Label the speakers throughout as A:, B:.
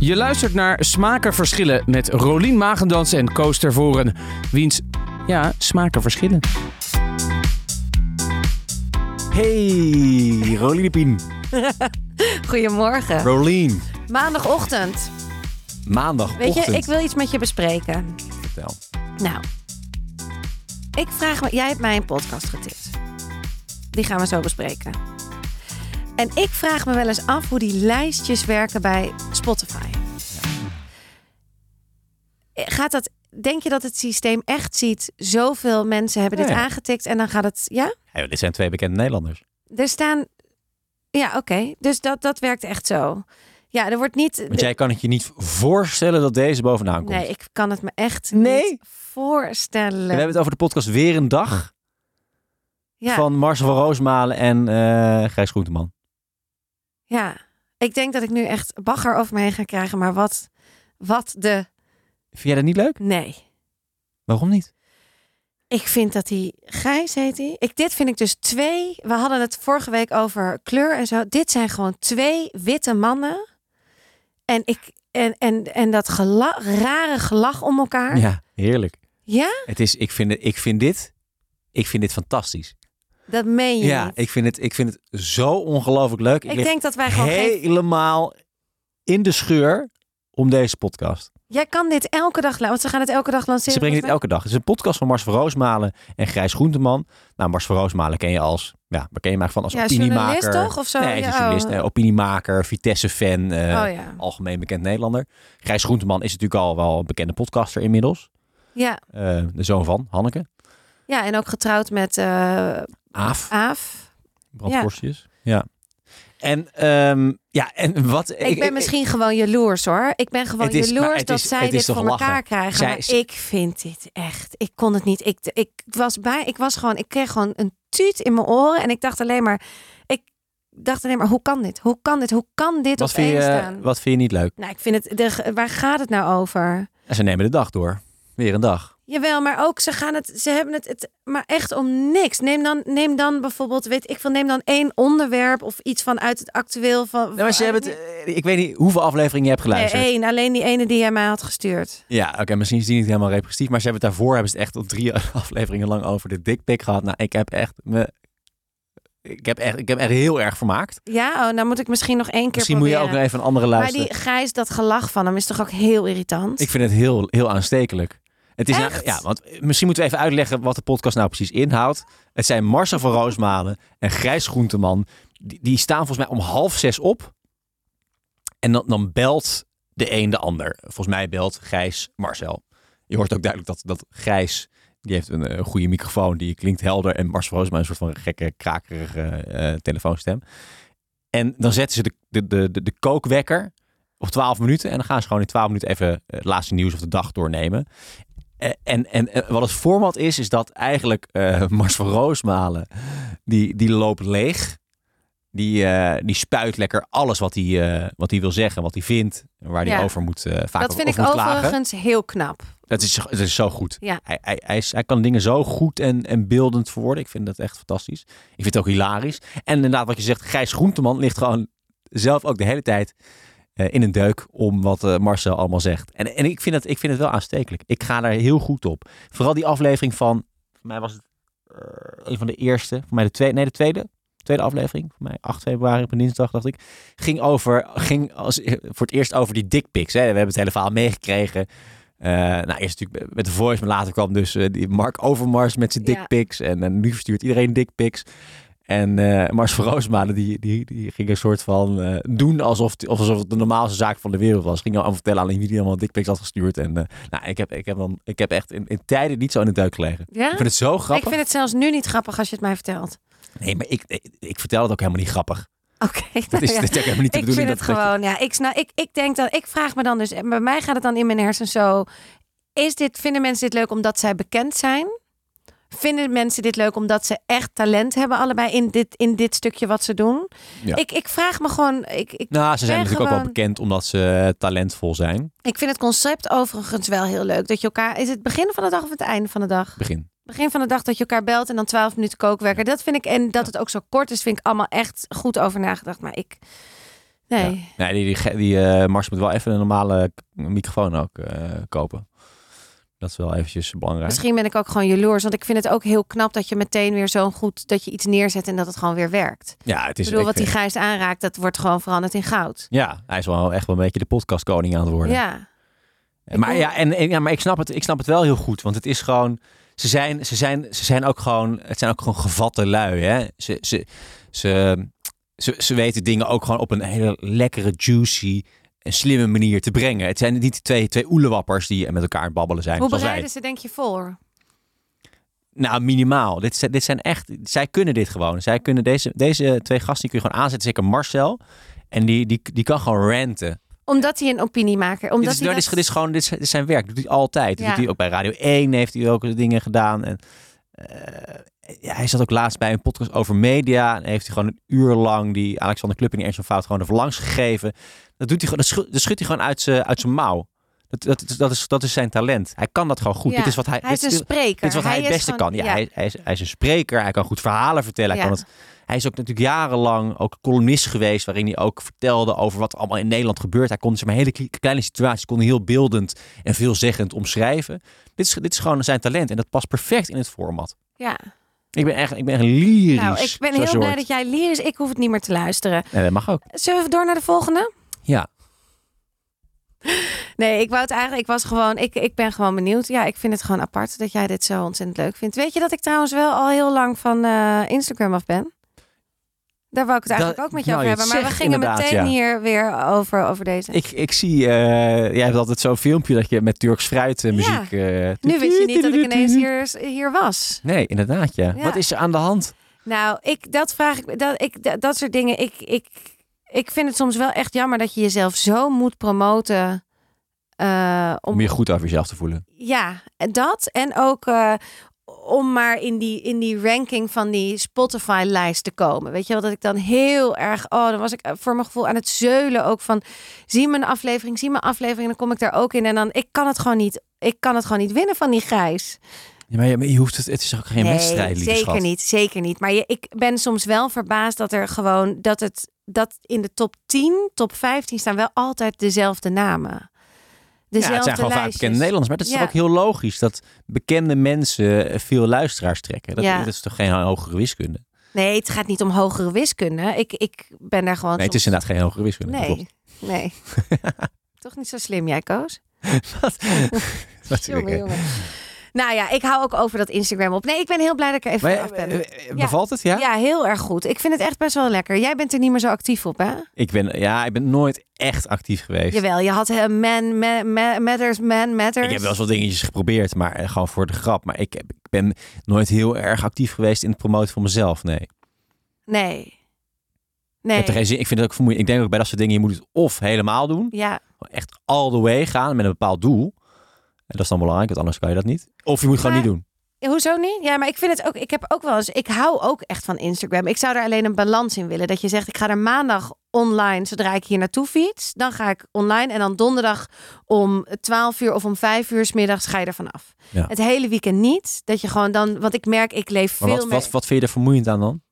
A: Je luistert naar Smaken Verschillen met Rolien Magendans en Koos Tervoren. Wiens, ja, smaken verschillen.
B: Hey, Rolien de Pien.
C: Goedemorgen.
B: Rolien.
C: Maandagochtend. Weet
B: Maandagochtend.
C: je, ik wil iets met je bespreken.
B: Vertel.
C: Nou, ik vraag me, jij hebt mij een podcast getipt. Die gaan we zo bespreken. En ik vraag me wel eens af hoe die lijstjes werken bij Spotify. Gaat dat, denk je dat het systeem echt ziet, zoveel mensen hebben dit
B: Ja, ja.
C: aangetikt en dan gaat het, ja?
B: Hey, dit zijn twee bekende Nederlanders.
C: Er staan, ja oké, dus dat, dat werkt echt zo. Ja, er wordt niet...
B: Want jij kan het je niet voorstellen dat deze bovenaan komt.
C: Nee, ik kan het me echt
B: Nee?
C: niet voorstellen.
B: We hebben het over de podcast Weer een Dag
C: ja,
B: van Marcel van Roosmalen en eh Gijs Groenteman.
C: ja, ik denk dat ik nu echt bagger over me heen ga krijgen. Maar wat, wat de...
B: Vind jij dat niet leuk?
C: Nee.
B: Waarom niet?
C: Ik vind dat die... Gijs heet die. Ik, dit vind ik dus twee... We hadden het vorige week over kleur en zo. Dit zijn gewoon twee witte mannen. En, ik, en, en, en dat gela, rare gelach om elkaar.
B: Ja, heerlijk.
C: Ja?
B: Het is, ik, vind, het- ik, vind dit, ik vind dit fantastisch.
C: Dat meen je
B: Ja,
C: niet.
B: ik vind, het, ik vind het zo ongelooflijk leuk.
C: Ik
B: lig
C: denk dat wij gewoon geen
B: helemaal in de scheur om deze podcast.
C: Jij kan dit elke dag... la- Want ze gaan het elke dag lanceren.
B: Ze brengen
C: volgens
B: dit elke
C: mij.
B: dag. Het is een podcast van Mars van Roosmalen en Grijs Groenteman. Nou, Mars van Roosmalen ken je als, ja, waar ken je maar van als
C: Ja,
B: opiniemaker.
C: journalist toch? Of zo?
B: Nee, hij is een
C: Ja,
B: journalist,
C: oh.
B: eh, opiniemaker, Vitesse-fan, eh,
C: oh ja.
B: algemeen bekend Nederlander. Grijs Groenteman is natuurlijk al wel een bekende podcaster inmiddels.
C: Ja.
B: Eh, de zoon van Hanneke,
C: ja, en ook getrouwd met eh
B: Aaf,
C: Aaf.
B: Brandkorstjes. Ja. En ehm, ja, en wat?
C: Ik, ben misschien gewoon jaloers hoor. Ik ben gewoon
B: Het is- maar
C: jaloers
B: het
C: dat
B: is- het
C: zij
B: is
C: dit
B: toch
C: voor
B: lachen.
C: elkaar krijgen.
B: Zij
C: maar
B: is-
C: ik vind dit echt. Ik kon het niet. Ik, ik was bij. Ik was gewoon. Ik kreeg gewoon een tuut in mijn oren. En ik dacht alleen maar. Ik dacht alleen maar. Hoe kan dit? Hoe kan dit? Hoe kan dit
B: wat
C: op
B: vind,
C: één
B: je,
C: staan?
B: wat vind je niet leuk?
C: Nou, ik vind het. De, waar gaat het nou over?
B: En ze nemen de dag door. Weer een dag.
C: Jawel, maar ook ze gaan het, ze hebben het, het maar echt om niks. Neem dan, neem dan bijvoorbeeld, weet ik veel, neem dan één onderwerp of iets vanuit het actueel van.
B: Nou, maar ze hebben het, eh, ik weet niet hoeveel afleveringen je hebt
C: Nee,
B: geluisterd.
C: één, alleen die ene die jij mij had gestuurd.
B: Ja, oké, misschien is die niet helemaal representatief. Maar ze hebben het daarvoor hebben ze het echt al drie afleveringen lang over de dikpik gehad. Nou, ik heb echt me. Ik heb echt, ik heb echt heel erg vermaakt.
C: Ja, oh, dan moet ik misschien nog één keer.
B: Misschien moet je
C: proberen.
B: ook nog even een andere
C: Maar
B: luisteren.
C: die grijs, dat gelach van hem is toch ook heel irritant.
B: Ik vind het heel, heel aanstekelijk. Het is
C: Echt?
B: ja, want eh, misschien moeten we even uitleggen wat de podcast nou precies inhoudt. Het zijn Marcel van Roosmalen en Grijs Groenteman. Die, die staan volgens mij om half zes op. En dan, dan belt de een de ander. Volgens mij belt Grijs Marcel. Je hoort ook duidelijk dat, dat Grijs, die heeft een eh, goede microfoon, die klinkt helder. En Marcel van Roosmalen is een soort van gekke, krakerige eh, telefoonstem. En dan zetten ze de, de, de, de, de kookwekker op 12 minuten. En dan gaan ze gewoon in 12 minuten even eh, het laatste nieuws of de dag doornemen. Eh, En, en, eh, wat het format is, is dat eigenlijk eh Mars van Roosmalen, die, die loopt leeg. Die, eh, die spuit lekker alles wat hij, eh, wat hij wil zeggen, wat hij vindt, waar hij
C: Ja.
B: over moet, eh vaak
C: dat
B: over
C: vind ik
B: moet klagen.
C: overigens heel knap.
B: Dat is, dat is zo goed.
C: Ja.
B: Hij, hij, hij, is- hij kan dingen zo goed en, en beeldend verwoorden. Ik vind dat echt fantastisch. Ik vind het ook hilarisch. En inderdaad, wat je zegt, Gijs Groenteman ligt gewoon zelf ook de hele tijd eh, in een deuk om wat eh, Marcel allemaal zegt. En, en ik, vind het, ik vind het wel aanstekelijk. Ik ga daar heel goed op. Vooral die aflevering van, voor mij was het eh, een van de eerste, voor mij de tweede, nee de tweede. Tweede aflevering, voor mij 8 februari op een dinsdag, dacht ik. Ging, over, ging als, voor het eerst over die dickpics. Hè. We hebben het hele verhaal meegekregen. Eh, nou, eerst natuurlijk met de voice, maar later kwam dus eh, die Mark Overmars met zijn
C: Ja.
B: dickpics. En, eh, nu verstuurt iedereen dickpics. En eh, Mars van Roosmalen, die, die, die ging een soort van eh, doen alsof, alsof het de normaalste zaak van de wereld was. Ging aan vertellen aan wie die allemaal dickpics had gestuurd. En eh, nou, ik, heb, ik, heb dan, ik heb echt in, in tijden niet zo in de duik gelegen.
C: Ja?
B: Ik vind het zo
C: Ik
B: grappig.
C: vind het zelfs nu niet grappig als je het mij vertelt.
B: Nee, maar ik, ik, ik vertel het ook helemaal niet grappig.
C: Oké,
B: Dat
C: nou
B: is,
C: ja.
B: dat is ook helemaal niet de
C: ik vind
B: bedoeling.
C: het
B: dat, dat je-
C: gewoon, ja. Ik, snap, ik, ik denk dat, ik vraag me dan dus, bij mij gaat het dan in mijn hersen zo. Is dit, vinden mensen dit leuk omdat zij bekend zijn? Vinden mensen dit leuk omdat ze echt talent hebben, allebei in dit, in dit stukje wat ze doen?
B: Ja.
C: Ik, ik vraag me gewoon, ik, ik,
B: Nou, ze zijn
C: ben
B: natuurlijk ook wel
C: gewoon-
B: bekend omdat ze eh, talentvol zijn.
C: ik vind het concept overigens wel heel leuk. Dat je elkaar, is het begin van de dag of het einde van de dag?
B: Begin.
C: Begin van de dag dat je elkaar belt en dan 12 minuten kookwerken. Dat vind ik, en dat het ook zo kort is, vind ik allemaal echt goed over nagedacht. Maar ik, Nee.
B: Ja. Nee, die, die, ge- die eh, Mars moet wel even een normale k- microfoon ook eh, kopen. Dat is wel eventjes belangrijk.
C: Misschien ben ik ook gewoon jaloers. Want ik vind het ook heel knap dat je meteen weer zo'n goed... dat je iets neerzet en dat het gewoon weer werkt.
B: Ja, het
C: Ik
B: is
C: bedoel,
B: ik
C: wat die
B: vind-
C: Gijs aanraakt, dat wordt gewoon veranderd in goud.
B: Ja, hij is wel echt wel een beetje de podcastkoning aan het worden.
C: Ja.
B: En- maar
C: Ik
B: ja, en, en- ja, maar ik snap, het, ik snap het wel heel goed. Want het is gewoon. Ze zijn, ze zijn, ze zijn ook gewoon. Het zijn ook gewoon gevatte lui. Hè? Ze, ze, ze, ze, ze weten dingen ook gewoon op een hele lekkere, juicy en slimme manier te brengen. Het zijn niet twee, twee oelewappers die met elkaar aan het babbelen zijn.
C: Hoe
B: zoals wij.
C: bereiden ze denk je voor?
B: Nou, minimaal. Dit, zijn- dit zijn echt. Zij kunnen dit gewoon. Zij kunnen deze, deze twee gasten die kun je gewoon aanzetten. Zeker Marcel. En die, die, die kan gewoon ranten.
C: Omdat hij een opiniemaker... Omdat
B: Dit is, nou,
C: hij
B: dit, is, dit is gewoon dit is, dit is zijn werk. Dat doet hij altijd. Dat
C: Ja.
B: doet hij ook bij Radio 1 heeft hij ook dingen gedaan. En, eh, ja, hij zat ook laatst bij een podcast over media. En heeft hij gewoon een uur lang die Alexander Klupping en Ernst van Fout gewoon er langs gegeven. Dat, doet hij, gewoon- dat, schu- dat schudt hij gewoon uit zijn, uit zijn mouw. Dat, dat, dat, is, dat is zijn talent. Hij kan dat gewoon goed.
C: Ja.
B: Dit is wat hij,
C: Hij is
B: dit,
C: een
B: dit
C: spreker.
B: is wat hij, het beste
C: gewoon-
B: kan. Ja, Hij, hij, is, hij is een spreker. Hij kan goed verhalen vertellen. Hij,
C: Ja.
B: kan het, hij is ook natuurlijk jarenlang ook columnist geweest. Waarin hij ook vertelde over wat er allemaal in Nederland gebeurt. Hij kon zeg maar, hele kle- kleine situaties kon hij heel beeldend en veelzeggend omschrijven. Dit is, dit is gewoon zijn talent. En dat past perfect in het format.
C: Ja.
B: Ik ben echt, ik ben echt lyrisch.
C: Nou, ik ben
B: zoals
C: heel
B: je
C: blij
B: hoort.
C: dat jij leert. Ik hoef het niet meer te luisteren.
B: Nee, dat mag ook.
C: Zullen we door naar de volgende?
B: Ja.
C: Nee, ik wou het eigenlijk. Ik was gewoon. Ik, ik ben gewoon benieuwd. Ja, ik vind het gewoon apart dat jij dit zo ontzettend leuk vindt. Weet je dat ik trouwens wel al heel lang van eh, Instagram af ben? Daar wou ik het eigenlijk
B: Dat-
C: ook met jou
B: nou,
C: over
B: je
C: hebben. Maar we
B: zegt
C: gingen
B: inderdaad,
C: meteen
B: ja.
C: hier weer over, over deze.
B: Ik, ik zie, eh, jij hebt altijd zo'n filmpje dat je met Turks fruit eh, muziek... eh,
C: nu weet je niet dat ik ineens hier, hier was.
B: Nee, inderdaad ja.
C: Ja.
B: Wat is er aan de hand?
C: Nou, ik, dat vraag ik, me- dat, ik dat, dat soort dingen. Ik, ik, ik vind het soms wel echt jammer dat je jezelf zo moet promoten. eh, om,
B: Om je goed over jezelf te voelen.
C: Ja, dat. En ook eh, om maar in die, in die ranking van die Spotify-lijst te komen. Weet je wel, dat ik dan heel erg... Oh, dan was ik eh, voor mijn gevoel aan het zeulen ook van... Zie mijn aflevering, zie mijn aflevering. En dan kom ik daar ook in. En dan, ik kan het gewoon niet... Ik kan het gewoon niet winnen van die grijs.
B: Ja, maar je, maar je hoeft het, het is ook geen wedstrijd, lieve
C: zeker
B: schat.
C: niet, zeker niet. Maar je, ik ben soms wel verbaasd dat er gewoon dat het dat in de top 10, top 15 staan wel altijd dezelfde namen. Dezelfde
B: ja, het zijn gewoon vaak
C: lijstjes.
B: bekende Nederlanders. Maar dat is
C: Ja.
B: toch ook heel logisch dat bekende mensen eh, veel luisteraars trekken. Dat,
C: Ja.
B: dat is toch geen hogere wiskunde?
C: Nee, het gaat niet om hogere wiskunde. Ik, ik ben daar gewoon.
B: Nee, het is
C: soms-
B: inderdaad geen hogere wiskunde. dat
C: Nee, nee. Toch niet zo slim, jij Koos?
B: klopt. Dat vind ik,
C: Jongen,
B: hè.
C: jongen. Nou ja, ik hou ook over dat Instagram op. Nee, ik ben heel blij dat ik er even
B: Maar,
C: af ben.
B: eh, eh,
C: Ja.
B: Bevalt het? Ja?
C: ja, heel erg goed. Ik vind het echt best wel lekker. Jij bent er niet meer zo actief op, hè?
B: Ik, ben, ja, ik ben nooit echt actief geweest.
C: Jawel, je had eh, man, man, man- matters, man, matters.
B: Ik heb wel eens wat dingetjes geprobeerd, maar eh, gewoon voor de grap. Maar ik, heb- ik ben nooit heel erg actief geweest in het promoten van mezelf. Nee.
C: Nee.
B: Ik,
C: Nee.
B: heb er geen zin, ik vind het ook vermoeiend. Ik denk ook bij dat soort dingen, je moet het of helemaal doen.
C: Ja,
B: echt all the way gaan met een bepaald doel. En dat is dan belangrijk, want anders kan je dat niet. Of je moet gewoon
C: Maar-
B: niet doen.
C: hoezo niet? Ja, maar ik vind het ook. Ik heb ook wel eens. Ik hou ook echt van Instagram. Ik zou er alleen een balans in willen. Dat je zegt, ik ga er maandag online zodra ik hier naartoe fiets. Dan ga ik online. En dan donderdag om 12 uur of om 5 uur 's middags ga je er vanaf.
B: Ja.
C: Het hele weekend niet. Dat je gewoon dan. Want ik merk, ik leef
B: Maar
C: veel
B: wat,
C: meer.
B: wat, wat vind je er vermoeiend aan dan?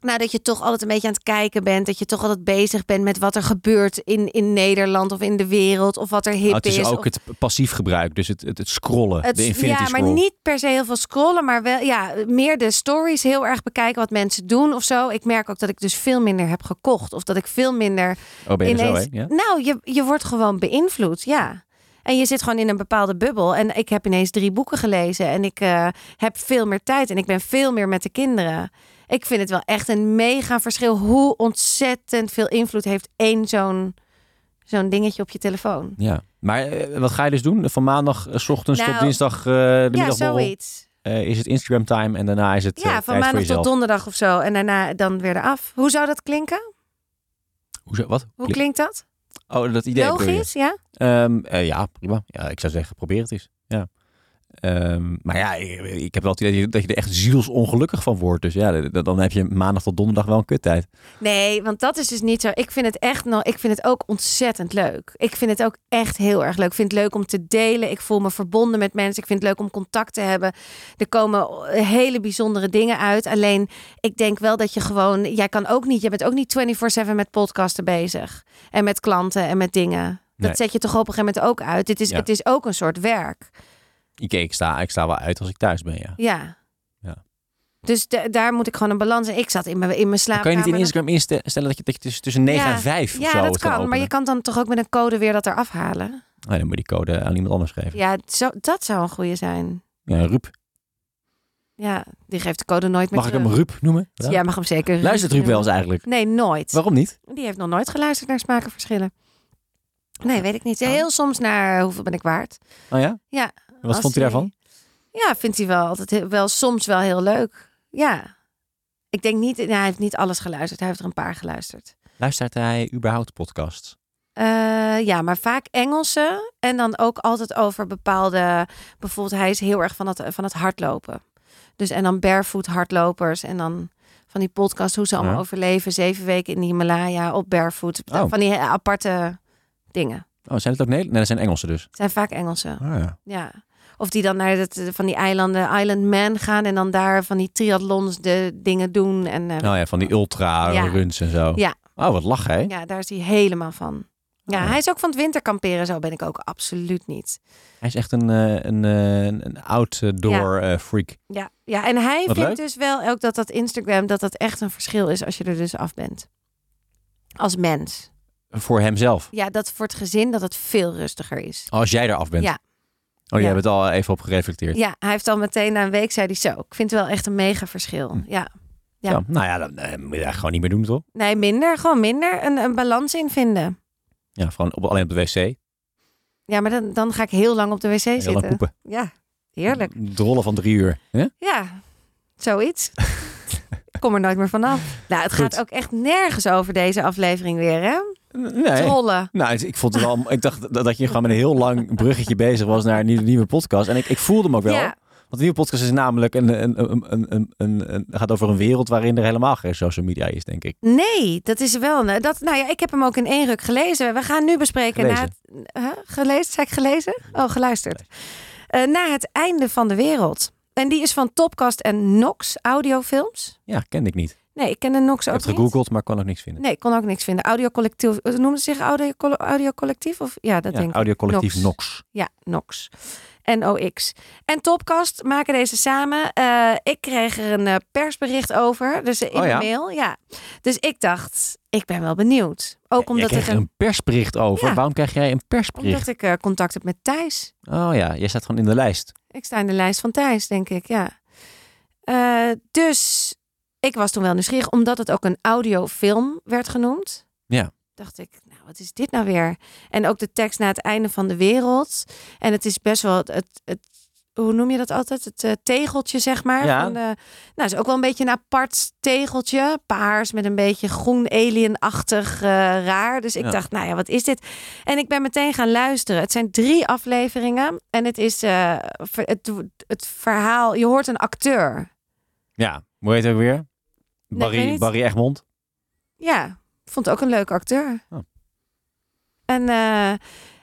C: Nou, dat je toch altijd een beetje aan het kijken bent. Dat je toch altijd bezig bent met wat er gebeurt in, in Nederland of in de wereld. Of wat er hip
B: Nou, het is,
C: is.
B: ook
C: of-
B: het passief gebruik, dus het, het, het scrollen,
C: Het-
B: de infinity
C: ja,
B: scroll.
C: maar niet per se heel veel scrollen, maar wel ja, meer de stories heel erg bekijken wat mensen doen of zo. Ik merk ook dat ik dus veel minder heb gekocht of dat ik veel minder
B: Oh, ben je er zo, hè?
C: ineens.
B: Ja?
C: Nou, je, je wordt gewoon beïnvloed, ja. En je zit gewoon in een bepaalde bubbel. En ik heb ineens drie boeken gelezen en ik eh, heb veel meer tijd en ik ben veel meer met de kinderen. Ik vind het wel echt een mega verschil hoe ontzettend veel invloed heeft één zo'n zo'n dingetje op je telefoon.
B: ja. Maar eh, wat ga je dus doen? Van maandag eh, s ochtends tot
C: Nou,
B: dinsdag eh de
C: ja,
B: middagborrel
C: zoiets.
B: eh, is het Instagram time en daarna is het eh,
C: Ja,
B: tijd
C: van
B: voor
C: maandag
B: jezelf.
C: tot donderdag of zo. En daarna dan weer eraf. Hoe zou dat klinken?
B: Hoezo, wat?
C: Hoe klinkt dat?
B: Oh, dat idee bedoel je?
C: Logisch, ja?
B: Ehm, eh, ja, prima. Ja, ik zou zeggen, probeer het eens. Ja. Ehm, maar ja, ik, ik heb wel het idee dat je er echt zielsongelukkig van wordt. Dus ja, d- d- dan heb je maandag tot donderdag wel een kuttijd.
C: Nee, want dat is dus niet zo. Ik vind het echt nog. Ik vind het ook ontzettend leuk. Ik vind het ook echt heel erg leuk. Ik vind het leuk om te delen. Ik voel me verbonden met mensen. Ik vind het leuk om contact te hebben. Er komen eh, hele bijzondere dingen uit. Alleen ik denk wel dat je gewoon. Jij kan ook niet. Je bent ook niet 24-7 met podcasten bezig. En met klanten en met dingen. Dat
B: Nee.
C: zet je toch op een gegeven moment ook uit. Dit is,
B: Ja.
C: Het is ook een soort werk.
B: Ik, ik, sta, ik sta wel uit als ik thuis ben, ja.
C: Ja.
B: Ja.
C: Dus da- daar moet ik gewoon een balans in. Ik zat in mijn, in mijn slaapkamer.
B: Kan je niet in
C: nog-
B: Instagram instellen dat je, dat je tussen, tussen 9
C: Ja.
B: en 5 of
C: Ja,
B: zo
C: dat
B: het
C: kan. Maar je
B: openen?
C: kan dan toch ook met een code weer dat eraf halen?
B: Oh, dan moet je die code aan iemand anders geven.
C: Ja, zo, dat zou een goede zijn.
B: Ja, Ruup.
C: Ja, die geeft de code nooit meer
B: Mag ik hem
C: terug.
B: Ruup noemen? Ja.
C: Jij mag hem zeker.
B: Luistert Ruup wel eens
C: noemen.
B: eigenlijk?
C: Nee, nooit.
B: Waarom niet?
C: Die heeft nog nooit geluisterd naar smakenverschillen. Nee, weet ik niet. Heel soms naar eh, hoeveel ben ik waard.
B: Oh ja?
C: Ja,
B: En Wat
C: Als
B: vond hij
C: hij-
B: daarvan?
C: Ja, vindt hij wel altijd heel- wel soms wel heel leuk. Ja. Ik denk niet, nou, hij heeft niet alles geluisterd. Hij heeft er een paar geluisterd.
B: Luistert hij überhaupt podcasts?
C: Eh, ja, maar vaak Engelse. En dan ook altijd over bepaalde. Bijvoorbeeld, hij is heel erg van het, van het hardlopen. Dus en dan barefoot hardlopers. En dan van die podcast, hoe ze allemaal
B: Ja.
C: overleven. Zeven weken in de Himalaya op barefoot.
B: Oh.
C: Van die eh, aparte dingen.
B: Oh, zijn het ook Nederlanders? Nee, dat zijn Engelsen dus.
C: Het zijn vaak Engelse.
B: Ah, ja.
C: Ja. Of die dan naar het, eh, van die eilanden Island Man gaan. En dan daar van die triathlons de dingen doen. En eh,
B: Oh ja, van die ultra
C: Ja.
B: runs en zo.
C: Ja.
B: Oh, wat lach hè?
C: ja, daar is hij helemaal van. Ja,
B: Oh.
C: hij is ook van het winterkamperen. Zo ben ik ook absoluut niet.
B: Hij is echt een, eh, een, eh, een outdoor eh, freak.
C: Ja, ja en hij
B: Wat
C: vindt
B: leuk.
C: dus wel ook dat dat Instagram dat dat echt een verschil is als je er dus af bent. Als mens.
B: Voor hemzelf.
C: Ja, dat voor het gezin dat het veel rustiger is.
B: Als jij eraf bent.
C: Ja.
B: Oh, jij
C: Ja.
B: hebt al even op gereflecteerd.
C: Ja, hij heeft al meteen na een week zei hij zo. Ik vind het wel echt een mega verschil.
B: Hm.
C: Ja. Ja.
B: Zo, nou ja, dan eh, moet je dat gewoon niet meer doen, toch?
C: Nee, minder. Gewoon minder. Een, een balans in vinden.
B: Ja, gewoon op, alleen op de wc. Heel
C: Ja, maar dan, dan ga ik heel lang op de wc
B: lang
C: zitten.
B: poepen.
C: Ja, heerlijk.
B: Drollen van drie uur. hè?
C: Ja, zoiets. ik kom er nooit meer vanaf. Nou, het gaat
B: Goed.
C: ook echt nergens over deze aflevering weer, hè?
B: Nee.
C: Trollen.
B: Nou, het- ik vond het wel. Ik dacht dat dat je gewoon met een heel lang bruggetje bezig was naar een nieuwe, nieuwe podcast. En ik, ik voelde hem ook wel.
C: Ja.
B: Want de nieuwe podcast is namelijk een, een, een, een, een, een, een- gaat over een wereld waarin er helemaal geen social media is, denk ik.
C: Nee, dat is wel. een- Dat, nou ja, ik heb hem ook in één ruk gelezen. We gaan nu bespreken.
B: Gelezen.
C: Na het, Huh? gelezen? Zei ik gelezen? Oh, geluisterd. Eh, na het einde van de wereld. En die is van Topcast en Nox Audiofilms.
B: Ja, kende ik niet. Ik
C: Nee, ik ken de Nox ook
B: heb het
C: niet.
B: gegoogeld, maar kon ook niks vinden.
C: Nee, ik kon ook niks vinden. Audiocollectief. eh, Noemde ze zich audio, audiocollectief? Of ja, dat denk
B: ja,
C: ik.
B: audiocollectief
C: Nox.
B: Nox.
C: Ja, Nox. NOX. En Topcast maken deze samen. Eh, ik kreeg er een eh, persbericht over, dus in
B: Oh ja?
C: de mail. Ja. Dus ik dacht, ik ben wel benieuwd. Ook
B: jij
C: omdat,
B: kreeg
C: het
B: er
C: een,
B: een persbericht over.
C: Ja.
B: Waarom krijg jij een persbericht?
C: omdat ik eh, contact heb met Thijs.
B: Oh ja, jij staat gewoon in de lijst.
C: Ik sta in de lijst van Thijs, denk ik, ja. Eh, dus ik was toen wel nieuwsgierig, omdat het ook een audiofilm werd genoemd.
B: Ja.
C: Dacht ik, nou, wat is dit nou weer? En ook de tekst na het einde van de wereld. En het is best wel het, het, het- hoe noem je dat altijd? Het eh, tegeltje, zeg maar.
B: Ja.
C: Van, eh, nou, is ook wel een beetje een apart tegeltje. Paars met een beetje groen alienachtig eh, raar. Dus ik
B: Ja.
C: dacht, nou ja, wat is dit? En ik ben meteen gaan luisteren. Het zijn drie afleveringen. En het is eh, ver- het, het verhaal. Je hoort een acteur.
B: Ja, hoe heet het ook weer?
C: ik
B: Barry,
C: weet niet.
B: Barry Egmond.
C: Ja, vond ook een leuke acteur.
B: Oh.
C: En eh,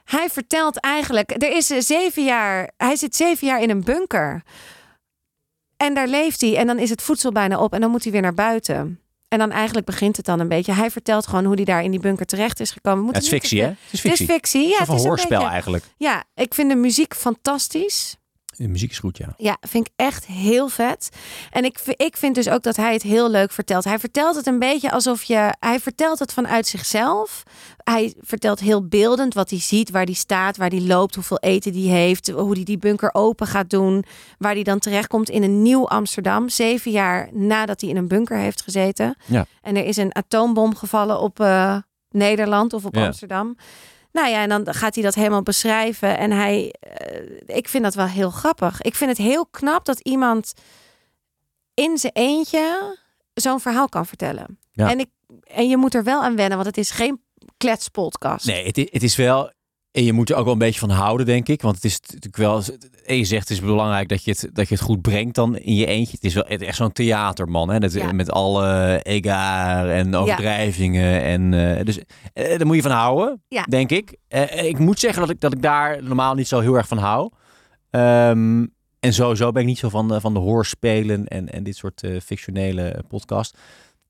C: hij vertelt eigenlijk. Er is eh, zeven jaar. Hij zit zeven jaar in een bunker. En daar leeft hij. En dan is het voedsel bijna op. En dan moet hij weer naar buiten. En dan eigenlijk begint het dan een beetje. Hij vertelt gewoon hoe hij daar in die bunker terecht is gekomen. We
B: Ja, het
C: moeten
B: is fictie,
C: niet te-
B: hè? Het is
C: Het
B: fictie.
C: is fictie. Ja,
B: Een
C: het
B: soort
C: is
B: van
C: een
B: hoorspel
C: beetje-
B: eigenlijk.
C: Ja, ik vind de muziek fantastisch.
B: De muziek is goed, ja.
C: Ja, vind ik echt heel vet. En ik, v- ik vind dus ook dat hij het heel leuk vertelt. Hij vertelt het een beetje alsof je. Hij vertelt het vanuit zichzelf. Hij vertelt heel beeldend wat hij ziet, waar hij staat, waar hij loopt, hoeveel eten hij heeft, hoe hij die bunker open gaat doen, waar hij dan terechtkomt in een nieuw Amsterdam, zeven jaar nadat hij in een bunker heeft gezeten.
B: Ja.
C: En er is een atoombom gevallen op eh, Nederland of op
B: Ja.
C: Amsterdam. Nou ja, en dan gaat hij dat helemaal beschrijven. En hij, eh, ik vind dat wel heel grappig. Ik vind het heel knap dat iemand in zijn eentje zo'n verhaal kan vertellen.
B: Ja.
C: En, ik, en je moet er wel aan wennen, want het is geen kletspodcast.
B: Nee, het is, het is wel En je moet er ook wel een beetje van houden, denk ik. Want het is natuurlijk wel... En je zegt, het is belangrijk dat je het, dat je het goed brengt dan in je eentje. Het is wel echt zo'n theaterman, hè? Dat,
C: Ja.
B: Met alle egaar en overdrijvingen. En, eh, dus eh, daar moet je van houden,
C: Ja.
B: denk ik. Eh, ik moet zeggen dat ik, dat ik daar normaal niet zo heel erg van hou. Ehm, en sowieso ben ik niet zo van de, van de hoorspelen en, en dit soort eh, fictionele eh, podcast.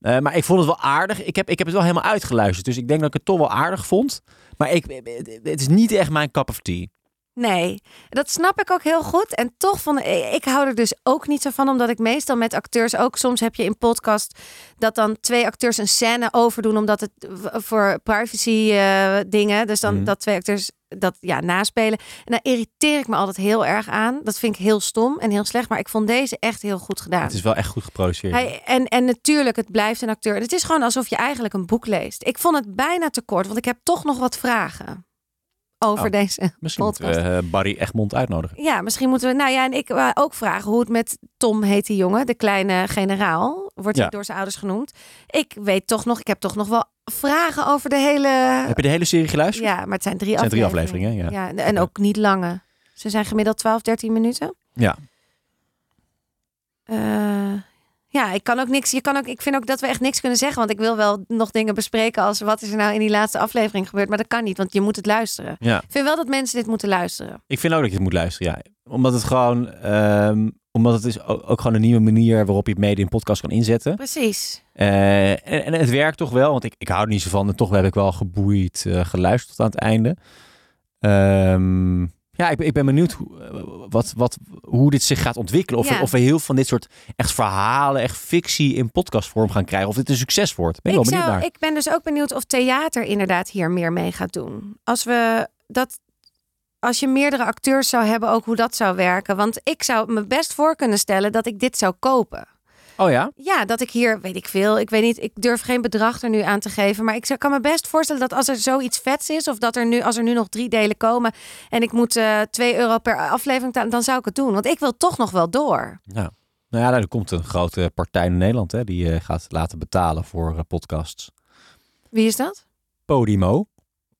B: Eh, maar ik vond het wel aardig. Ik heb, ik heb het wel helemaal uitgeluisterd. Dus ik denk dat ik het toch wel aardig vond. Maar ik, het is niet echt mijn cup of tea.
C: Nee, dat snap ik ook heel goed. En toch vond ik, ik hou er dus ook niet zo van, omdat ik meestal met acteurs ook soms heb je in podcast dat dan twee acteurs een scène overdoen, omdat het w- voor privacy eh, dingen, dus dan
B: Mhm.
C: dat twee acteurs dat ja naspelen. En daar irriteer ik me altijd heel erg aan. Dat vind ik heel stom en heel slecht, maar ik vond deze echt heel goed gedaan.
B: Het is wel echt goed geproduceerd.
C: Hij, en, en natuurlijk, het blijft een acteur. Het is gewoon alsof je eigenlijk een boek leest. Ik vond het bijna te kort, want ik heb toch nog wat vragen over
B: Oh.
C: deze
B: Misschien moeten we
C: podcast.
B: eh, Barry Egmond uitnodigen.
C: Ja, misschien moeten we. Nou ja, en ik eh, ook vragen hoe het met Tom heet die jongen, de kleine generaal, wordt
B: Ja.
C: hij door zijn ouders genoemd. Ik weet toch nog, ik heb toch nog wel vragen over de hele.
B: Heb je de hele serie geluisterd?
C: Ja, maar het zijn drie
B: Het zijn drie
C: afleveringen.
B: afleveringen, ja.
C: Ja, en- en ook niet lange. Ze zijn gemiddeld 12, 13 minuten.
B: Ja.
C: Eh, ja, ik kan ook niks. Je kan ook, ik vind ook dat we echt niks kunnen zeggen. Want ik wil wel nog dingen bespreken als wat is er nou in die laatste aflevering gebeurd. Maar dat kan niet, want je moet het luisteren.
B: Ja.
C: Ik vind wel dat mensen dit moeten luisteren.
B: Ik vind ook dat je het moet luisteren, ja. Omdat het gewoon... ehm, omdat het is ook, ook gewoon een nieuwe manier waarop je het mede in podcast kan inzetten.
C: Precies.
B: Eh, en, en het werkt toch wel, want ik, ik hou er niet zo van. En toch heb ik wel geboeid eh, geluisterd tot aan het einde. Ehm, ja, ik, ben- ik ben benieuwd hoe, eh, wat, wat, hoe dit zich gaat ontwikkelen. Of,
C: Ja.
B: we, of we heel veel van dit soort echt verhalen, echt fictie in podcastvorm gaan krijgen. Of dit een succes wordt. Ben ik,
C: ik,
B: wel benieuwd
C: zou,
B: naar.
C: ik ben dus ook benieuwd of theater inderdaad hier meer mee gaat doen. Als we dat. Als je meerdere acteurs zou hebben, ook hoe dat zou werken. Want ik zou me best voor kunnen stellen dat ik dit zou kopen.
B: Oh ja?
C: Ja, dat ik hier, weet ik veel, ik weet niet, ik durf geen bedrag er nu aan te geven. Maar ik zou- kan me best voorstellen dat als er zoiets vets is, of dat er nu, als er nu nog drie delen komen en ik moet eh 2 euro per aflevering, ta- dan zou ik het doen. Want ik wil toch nog wel door.
B: Nou, nou ja, er komt een grote partij in Nederland. Hè, die eh, gaat laten betalen voor eh, podcasts.
C: Wie is dat?
B: Podimo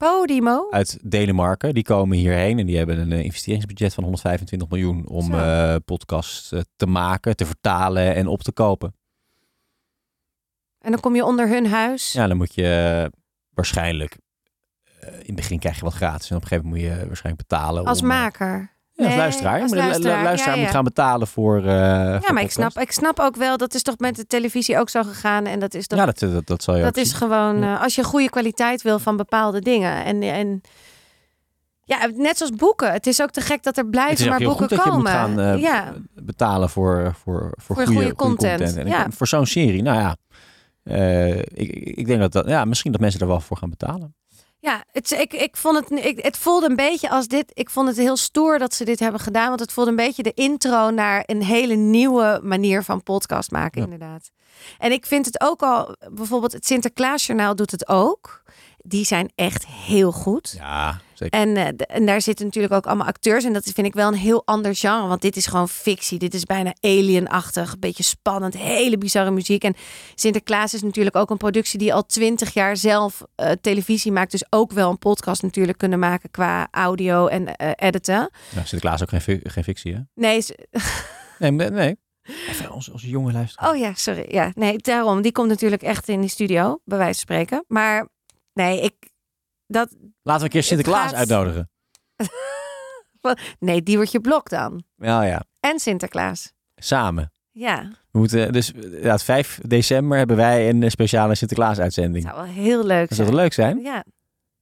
C: Podimo.
B: uit Denemarken. Die komen hierheen en die hebben een eh, investeringsbudget van 125 miljoen om
C: Zo.
B: eh, podcasts eh, te maken, te vertalen en op te kopen.
C: En dan kom je onder hun huis.
B: Ja, dan moet je eh, waarschijnlijk. eh, in het begin krijg je wat gratis en op een gegeven moment moet je waarschijnlijk betalen.
C: Als
B: om, eh,
C: maker.
B: Ja, als
C: Nee,
B: luisteraar.
C: als
B: Maar de lu-
C: luisteraar,
B: luisteraar
C: ja,
B: moet
C: ja.
B: gaan betalen voor. eh,
C: Ja,
B: voor
C: maar ik
B: podcast.
C: snap, ik snap ook wel, dat is toch met de televisie ook zo gegaan. En dat is toch
B: Ja, dat, dat, dat zal je
C: Dat
B: ook
C: is
B: zien.
C: gewoon
B: Ja.
C: eh, als je goede kwaliteit wil van bepaalde dingen. En, en ja, net zoals boeken. Het is ook te gek dat er
B: Het is
C: blijven
B: ook
C: maar
B: heel
C: boeken
B: goed dat je moet
C: komen.
B: gaan eh,
C: ja,
B: betalen voor, voor, voor,
C: goede
B: goede, goede
C: content,
B: En
C: ja.
B: ik- voor zo'n serie, nou ja. eh, ik, ik denk dat, dat ja, misschien dat mensen er wel voor gaan betalen.
C: ja het, ik, ik vond het, ik, het voelde een beetje als dit. Ik vond het heel stoer dat ze dit hebben gedaan. Want het voelde een beetje de intro naar een hele nieuwe manier van podcast maken,
B: Ja.
C: inderdaad. En ik vind het ook al, bijvoorbeeld het Sinterklaasjournaal doet het ook. Die zijn echt heel goed.
B: Ja, zeker.
C: En, eh, d- en daar zitten natuurlijk ook allemaal acteurs. En dat vind ik wel een heel ander genre. Want dit is gewoon fictie. Dit is bijna alienachtig. Een beetje spannend. Hele bizarre muziek. En Sinterklaas is natuurlijk ook een productie die al twintig jaar zelf eh, televisie maakt. Dus ook wel een podcast natuurlijk kunnen maken qua audio en eh, editen.
B: Nou, Sinterklaas ook geen, fi- geen fictie, hè?
C: Nee, is-
B: Nee, nee, nee. Even onze, onze jongen luisteren.
C: Oh ja, sorry. Ja, nee, daarom. Die komt natuurlijk echt in die studio, bij wijze van spreken. Maar nee, ik. Dat,
B: Laten we een keer Sinterklaas
C: gaat-
B: uitnodigen.
C: nee, die wordt je blok dan.
B: Ja, ja.
C: En Sinterklaas.
B: Samen.
C: Ja,
B: We moeten, dus ja, het 5 december hebben wij een speciale Sinterklaas-uitzending.
C: zou wel heel leuk
B: Dat zou
C: zijn.
B: toch leuk zijn?
C: Ja.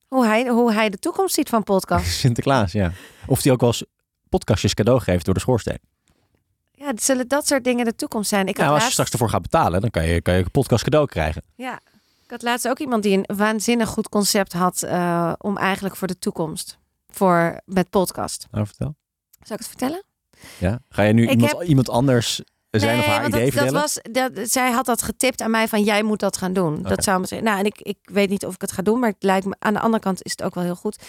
C: Hoe hij, hoe hij de toekomst ziet van podcast.
B: Sinterklaas, ja. Of die ook wel eens podcastjes cadeau geeft door de schoorsteen.
C: Ja, het zullen dat soort dingen de toekomst zijn. Ik
B: Nou,
C: had
B: als je
C: laatst,
B: straks ervoor gaat betalen, dan kan je, kan je ook een podcast cadeau krijgen.
C: ja, ik had laatst ook iemand die een waanzinnig goed concept had eh, om eigenlijk voor de toekomst. Voor met podcast.
B: Nou, vertel.
C: Zal ik het vertellen?
B: Ja. Ga je nu
C: Ik
B: iemand,
C: heb-
B: iemand anders zijn
C: nee,
B: of haar
C: want
B: idee
C: dat, dat
B: vertellen?
C: was, dat, zij had dat getipt aan mij van jij moet dat gaan doen.
B: Oké.
C: Dat zou me zeggen. Nou, en ik, ik weet niet of ik het ga doen, maar het lijkt me aan de andere kant is het ook wel heel goed.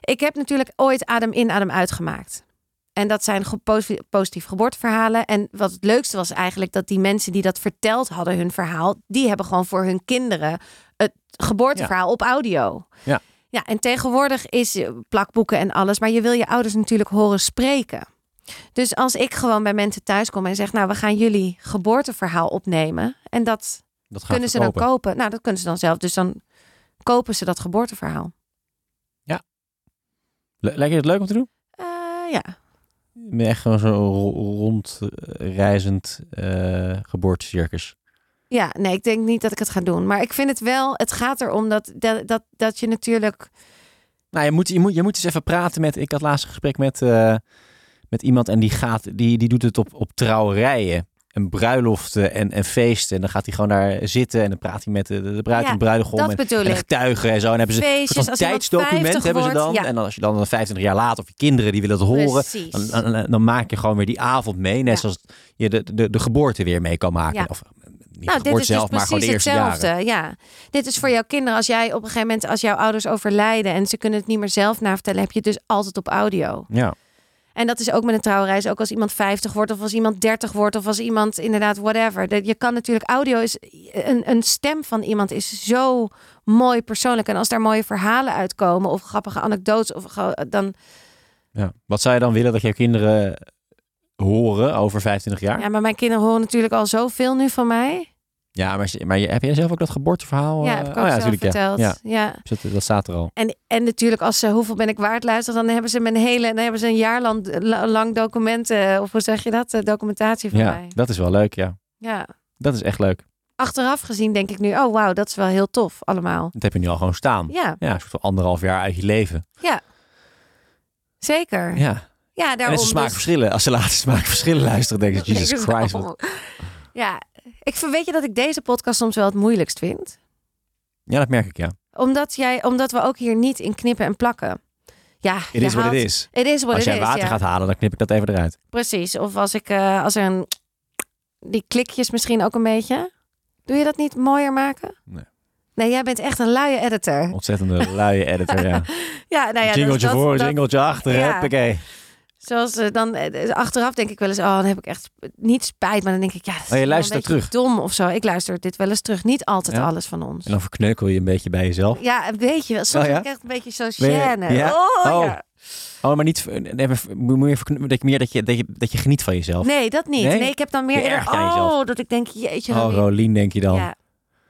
C: Ik heb natuurlijk ooit adem in, adem uit gemaakt. En dat zijn ge- posi- positief geboorteverhalen. En wat het leukste was eigenlijk dat die mensen die dat verteld hadden, hun verhaal, die hebben gewoon voor hun kinderen het geboorteverhaal op audio.
B: Ja.
C: Ja, en tegenwoordig is eh, plakboeken en alles, maar je wil je ouders natuurlijk horen spreken. Dus als ik gewoon bij mensen thuis kom en zeg, nou, we gaan jullie geboorteverhaal opnemen. En dat
B: Dat gaat
C: kunnen ze
B: verkopen.
C: dan kopen. Nou, dat kunnen ze dan zelf. Dus dan kopen ze dat geboorteverhaal.
B: Le- Lijkt je het leuk om te doen?
C: Eh, ja,
B: Ik ben echt gewoon zo'n ro- rondreizend eh geboortecircus.
C: Ja, nee, ik denk niet dat ik het ga doen. Maar ik vind het wel, het gaat erom dat, dat, dat, dat je natuurlijk.
B: Nou, je moet, je, moet, je moet eens even praten met... Ik had laatst een gesprek met, eh, met iemand en die, gaat, die, die doet het op, op trouwerijen. En bruiloften en, en feesten. En dan gaat hij gewoon daar zitten en dan praat hij met de, de bruid
C: Ja,
B: en bruidegom.
C: dat
B: en,
C: bedoel
B: en de
C: ik.
B: getuigen en zo. En dan hebben ze
C: Feestjes,
B: een
C: dus als iemand
B: tijdsdocument
C: 50
B: hebben ze dan.
C: wordt, ja.
B: En dan als je dan 25 jaar later of je kinderen die willen het horen.
C: Precies.
B: Dan, dan, dan maak je gewoon weer die avond mee. Net
C: Ja.
B: zoals je de, de, de geboorte weer mee kan maken.
C: Ja.
B: Of, eh, niet
C: nou,
B: de
C: dit
B: geboorte
C: is
B: zelf,
C: dus
B: maar gewoon de
C: precies
B: eerste
C: hetzelfde.
B: jaren.
C: Ja, dit is voor jouw kinderen. Als jij op een gegeven moment, als jouw ouders overlijden en ze kunnen het niet meer zelf navertellen, heb je het dus altijd op audio.
B: Ja.
C: En dat is ook met een trouwreis. Ook als iemand 50 wordt, of als iemand 30 wordt, of als iemand inderdaad whatever. Dat je kan natuurlijk audio is een, een stem van iemand is zo mooi persoonlijk. En als daar mooie verhalen uitkomen of grappige anekdotes, of ge- dan
B: Ja. Wat zou je dan willen dat jouw kinderen horen over 25 jaar? Ja,
C: Ja, maar mijn kinderen horen natuurlijk al zoveel nu van mij.
B: maar, ze- maar je- heb jij zelf ook dat geboorteverhaal?
C: ja,
B: eh,
C: heb ik
B: oh
C: ook zelf
B: natuurlijk,
C: verteld.
B: Ja.
C: Ja.
B: Ja. Dus dat, dat staat er al.
C: En, en natuurlijk als ze hoeveel ben ik waard luisteren, dan hebben ze mijn hele, dan hebben ze een jaar lang, eh, la- lang documenten, of hoe zeg je dat, Eh, documentatie van
B: Ja,
C: mij.
B: dat is wel leuk, ja.
C: Ja.
B: Dat is echt leuk.
C: Achteraf gezien denk ik nu, oh wauw, dat is wel heel tof allemaal.
B: Dat heb je nu al gewoon staan.
C: Ja,
B: Ja, een soort van anderhalf jaar uit je leven.
C: zeker. Ja,
B: Ja.
C: daarom.
B: en ze
C: dus-
B: smaakverschillen. Als ze later smaakverschillen luisteren, denken ze, Jesus Christ. wat-
C: Ja, ik vind- weet je dat ik deze podcast soms wel het moeilijkst vind.
B: Ja, dat merk ik, ja.
C: Omdat, jij, omdat we ook hier niet in knippen en plakken. Ja,
B: It is wat het is.
C: It is what
B: Als
C: it
B: jij
C: is,
B: water
C: ja.
B: gaat halen, dan knip ik dat even eruit.
C: Precies. Of als ik eh, als er een die klikjes misschien ook een beetje. Doe je dat niet mooier maken?
B: Nee.
C: Nee, jij bent echt een luie editor.
B: Ontzettende luie editor, ja.
C: Ja, nou ja,
B: jingletje
C: dat, dat-
B: voor,
C: dat-
B: jingletje achter,
C: Ja.
B: huppakee.
C: Zoals eh, dan eh, achteraf denk ik wel eens, oh, dan heb ik echt niet spijt, maar dan denk ik, ja, dat is
B: je
C: wel
B: luistert
C: een beetje Dom of zo. Ik luister dit wel eens terug, niet altijd
B: Ja.
C: alles van ons.
B: En dan verkneukel je een beetje bij jezelf.
C: Ja, een beetje. wel. Soms
B: Oh, ja?
C: heb ik echt een beetje zo
B: Ben je-
C: gêne.
B: ja?
C: Oh,
B: Oh.
C: ja.
B: Oh, maar niet... Nee, maar moet je verkneu- dat je meer dat je, dat je, dat je geniet van jezelf.
C: Nee, dat niet.
B: Nee?
C: Nee, ik heb dan meer
B: Je
C: eerder,
B: ergert aan jezelf.
C: oh, dat ik denk, jeetje.
B: oh,
C: Romy.
B: Rolien, denk je dan.
C: ja.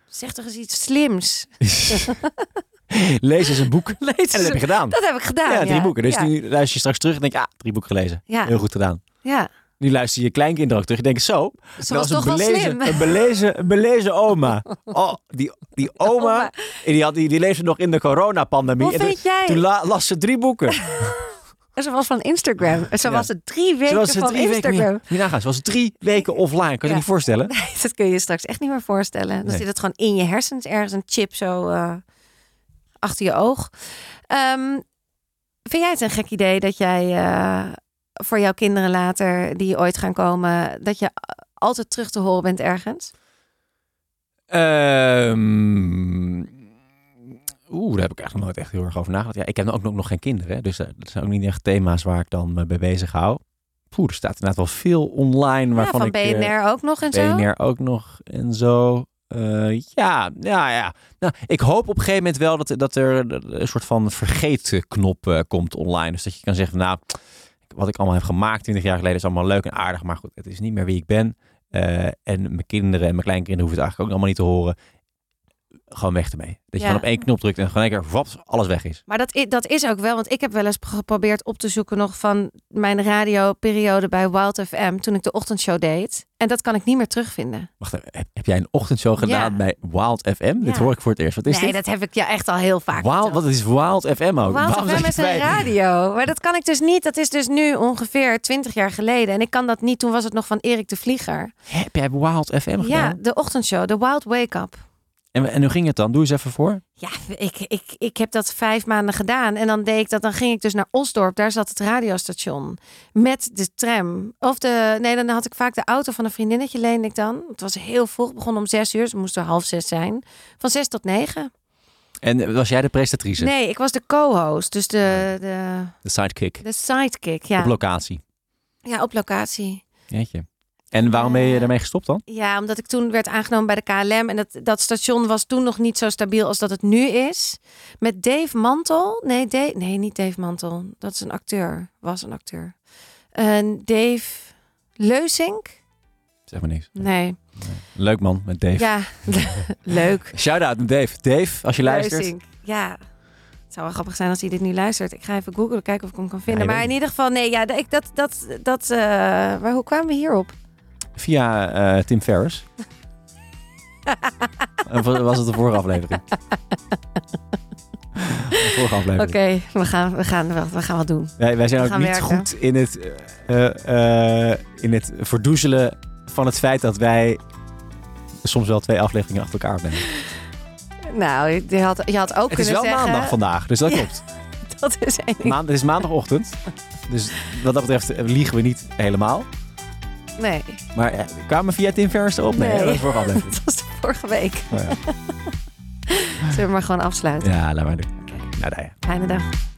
C: Zeg toch eens iets slims.
B: Lees eens een boek. En
C: Lees
B: dat heb je
C: eens-
B: gedaan.
C: dat heb ik gedaan.
B: Ja, drie boeken. Dus
C: ja.
B: nu luister je straks terug en denk je, ah, drie boeken gelezen.
C: Ja.
B: Heel goed gedaan.
C: Ja,
B: Nu luister je je kleinkinderen ook terug. Je denkt, zo,
C: ze
B: dat
C: was
B: was een
C: toch wel
B: belezen,
C: slim.
B: een, belezen, een belezen oma. Oh, die, die oma,
C: Oma.
B: die, had, die, die leefde nog in de coronapandemie.
C: Hoe
B: En toen-
C: vind jij?
B: Toen la- las ze drie boeken.
C: Ze was van Instagram. Ze was het drie weken
B: Ze was
C: van
B: drie weken,
C: Instagram.
B: Moet je nagaan, ze was drie weken offline. Kan je je
C: Ja.
B: niet voorstellen?
C: Dat kun je je straks echt niet meer voorstellen. Dan
B: Nee.
C: zit het gewoon in je hersens ergens een chip zo eh, achter je oog. Ehm, vind jij het een gek idee dat jij eh, voor jouw kinderen later, die ooit gaan komen, dat je altijd terug te horen bent ergens?
B: Ehm, Oeh, daar heb ik echt nog nooit echt heel erg over nagedacht. Ja, ik heb ook nog, nog geen kinderen, hè, dus eh, dat zijn ook niet echt thema's waar ik dan me bij bezig hou. Poeh, er staat inderdaad wel veel online
C: Ja,
B: waarvan
C: van
B: ik... eh,
C: BNR ook nog en zo.
B: BNR ook nog en zo. Eh, ja, ja, ja. Nou, ik hoop op een gegeven moment wel dat, dat er een soort van vergeetknop eh, komt online. Dus dat je kan zeggen, nou, wat ik allemaal heb gemaakt 20 jaar geleden is allemaal leuk en aardig. Maar goed, het is niet meer wie ik ben. Eh, en mijn kinderen en mijn kleinkinderen hoeven het eigenlijk ook allemaal niet te horen. Gewoon weg ermee. Dat je
C: Ja.
B: gewoon op één knop drukt en gewoon een keer, wat, alles weg is.
C: Maar dat is, dat is ook wel, want ik heb wel eens geprobeerd op te zoeken nog van mijn radioperiode bij Wild FM toen ik de ochtendshow deed. En dat kan ik niet meer terugvinden.
B: Wacht, even, heb, heb jij een ochtendshow gedaan
C: Ja.
B: bij Wild FM? Dit
C: Ja.
B: hoor ik voor het eerst. Wat is
C: nee,
B: dit?
C: dat heb ik ja echt al heel vaak.
B: Wild,
C: verteld.
B: wat is Wild FM ook?
C: Wild
B: Waarom zeg
C: FM
B: je
C: is een
B: bij-
C: radio. Maar dat kan ik dus niet. Dat is dus nu ongeveer 20 jaar geleden. En ik kan dat niet. Toen was het nog van Erik de Vlieger.
B: Heb jij Wild FM
C: Ja,
B: gedaan?
C: de ochtendshow, de Wild Wake Up.
B: En, en hoe ging het dan? Doe eens even voor.
C: Ja, ik, ik, ik heb dat vijf maanden gedaan. En dan deed ik dat. Dan ging ik dus naar Osdorp. Daar zat het radiostation. Met de tram. Of de. Nee, dan had ik vaak de auto van een vriendinnetje leende ik dan. Het was heel vroeg. Het begon om zes uur. Dus het moest er half zes zijn. Van zes tot negen.
B: En eh, was jij de presentatrice?
C: Nee, ik was de co-host. Dus de, de,
B: De sidekick.
C: de sidekick.
B: Op
C: Ja.
B: locatie.
C: ja, op locatie.
B: Jeetje. En waarom ben je
C: Eh.
B: daarmee gestopt dan?
C: Ja, omdat ik toen werd aangenomen bij de KLM. En dat, dat station was toen nog niet zo stabiel als dat het nu is. Met Dave Mantel. Nee, Dave, nee niet Dave Mantel. Dat is een acteur. Was een acteur. En Dave Leusink?
B: Zeg maar niks.
C: Nee.
B: Leuk man, met Dave.
C: Ja, leuk.
B: Shout-out naar Dave. Dave, als je luistert.
C: Leusink. Ja. Het zou wel grappig zijn als hij dit nu luistert. Ik ga even googlen, kijken of ik hem kan vinden.
B: Ja, je
C: maar in
B: weet
C: ieder geval, nee, ja, ik, dat, dat, dat, eh, maar hoe kwamen we hierop?
B: Via eh, Tim Ferriss. Of was het de vorige aflevering? De vorige
C: Oké,
B: aflevering.
C: we, gaan, we, gaan, wel- we gaan wat doen.
B: Wij, wij zijn
C: We
B: ook
C: gaan
B: niet
C: werken.
B: goed in het, eh, eh, in het verdoezelen van het feit dat wij soms wel twee afleveringen achter elkaar opnemen.
C: Nou, je had, je had ook
B: Het is
C: kunnen
B: wel
C: zeggen...
B: maandag vandaag, dus dat
C: Ja.
B: klopt.
C: Dat is één ding.
B: Maand, het is maandagochtend, dus wat dat betreft eh, liegen we niet helemaal.
C: Nee,
B: Maar eh, we kwamen via Tim Ferriss erop? Nee,
C: Nee.
B: dat was de vorige aflevering.
C: dat was de vorige week.
B: Oh ja.
C: Zullen we maar gewoon afsluiten.
B: ja, laat maar doen. Nou, daar ja.
C: Fijne dag.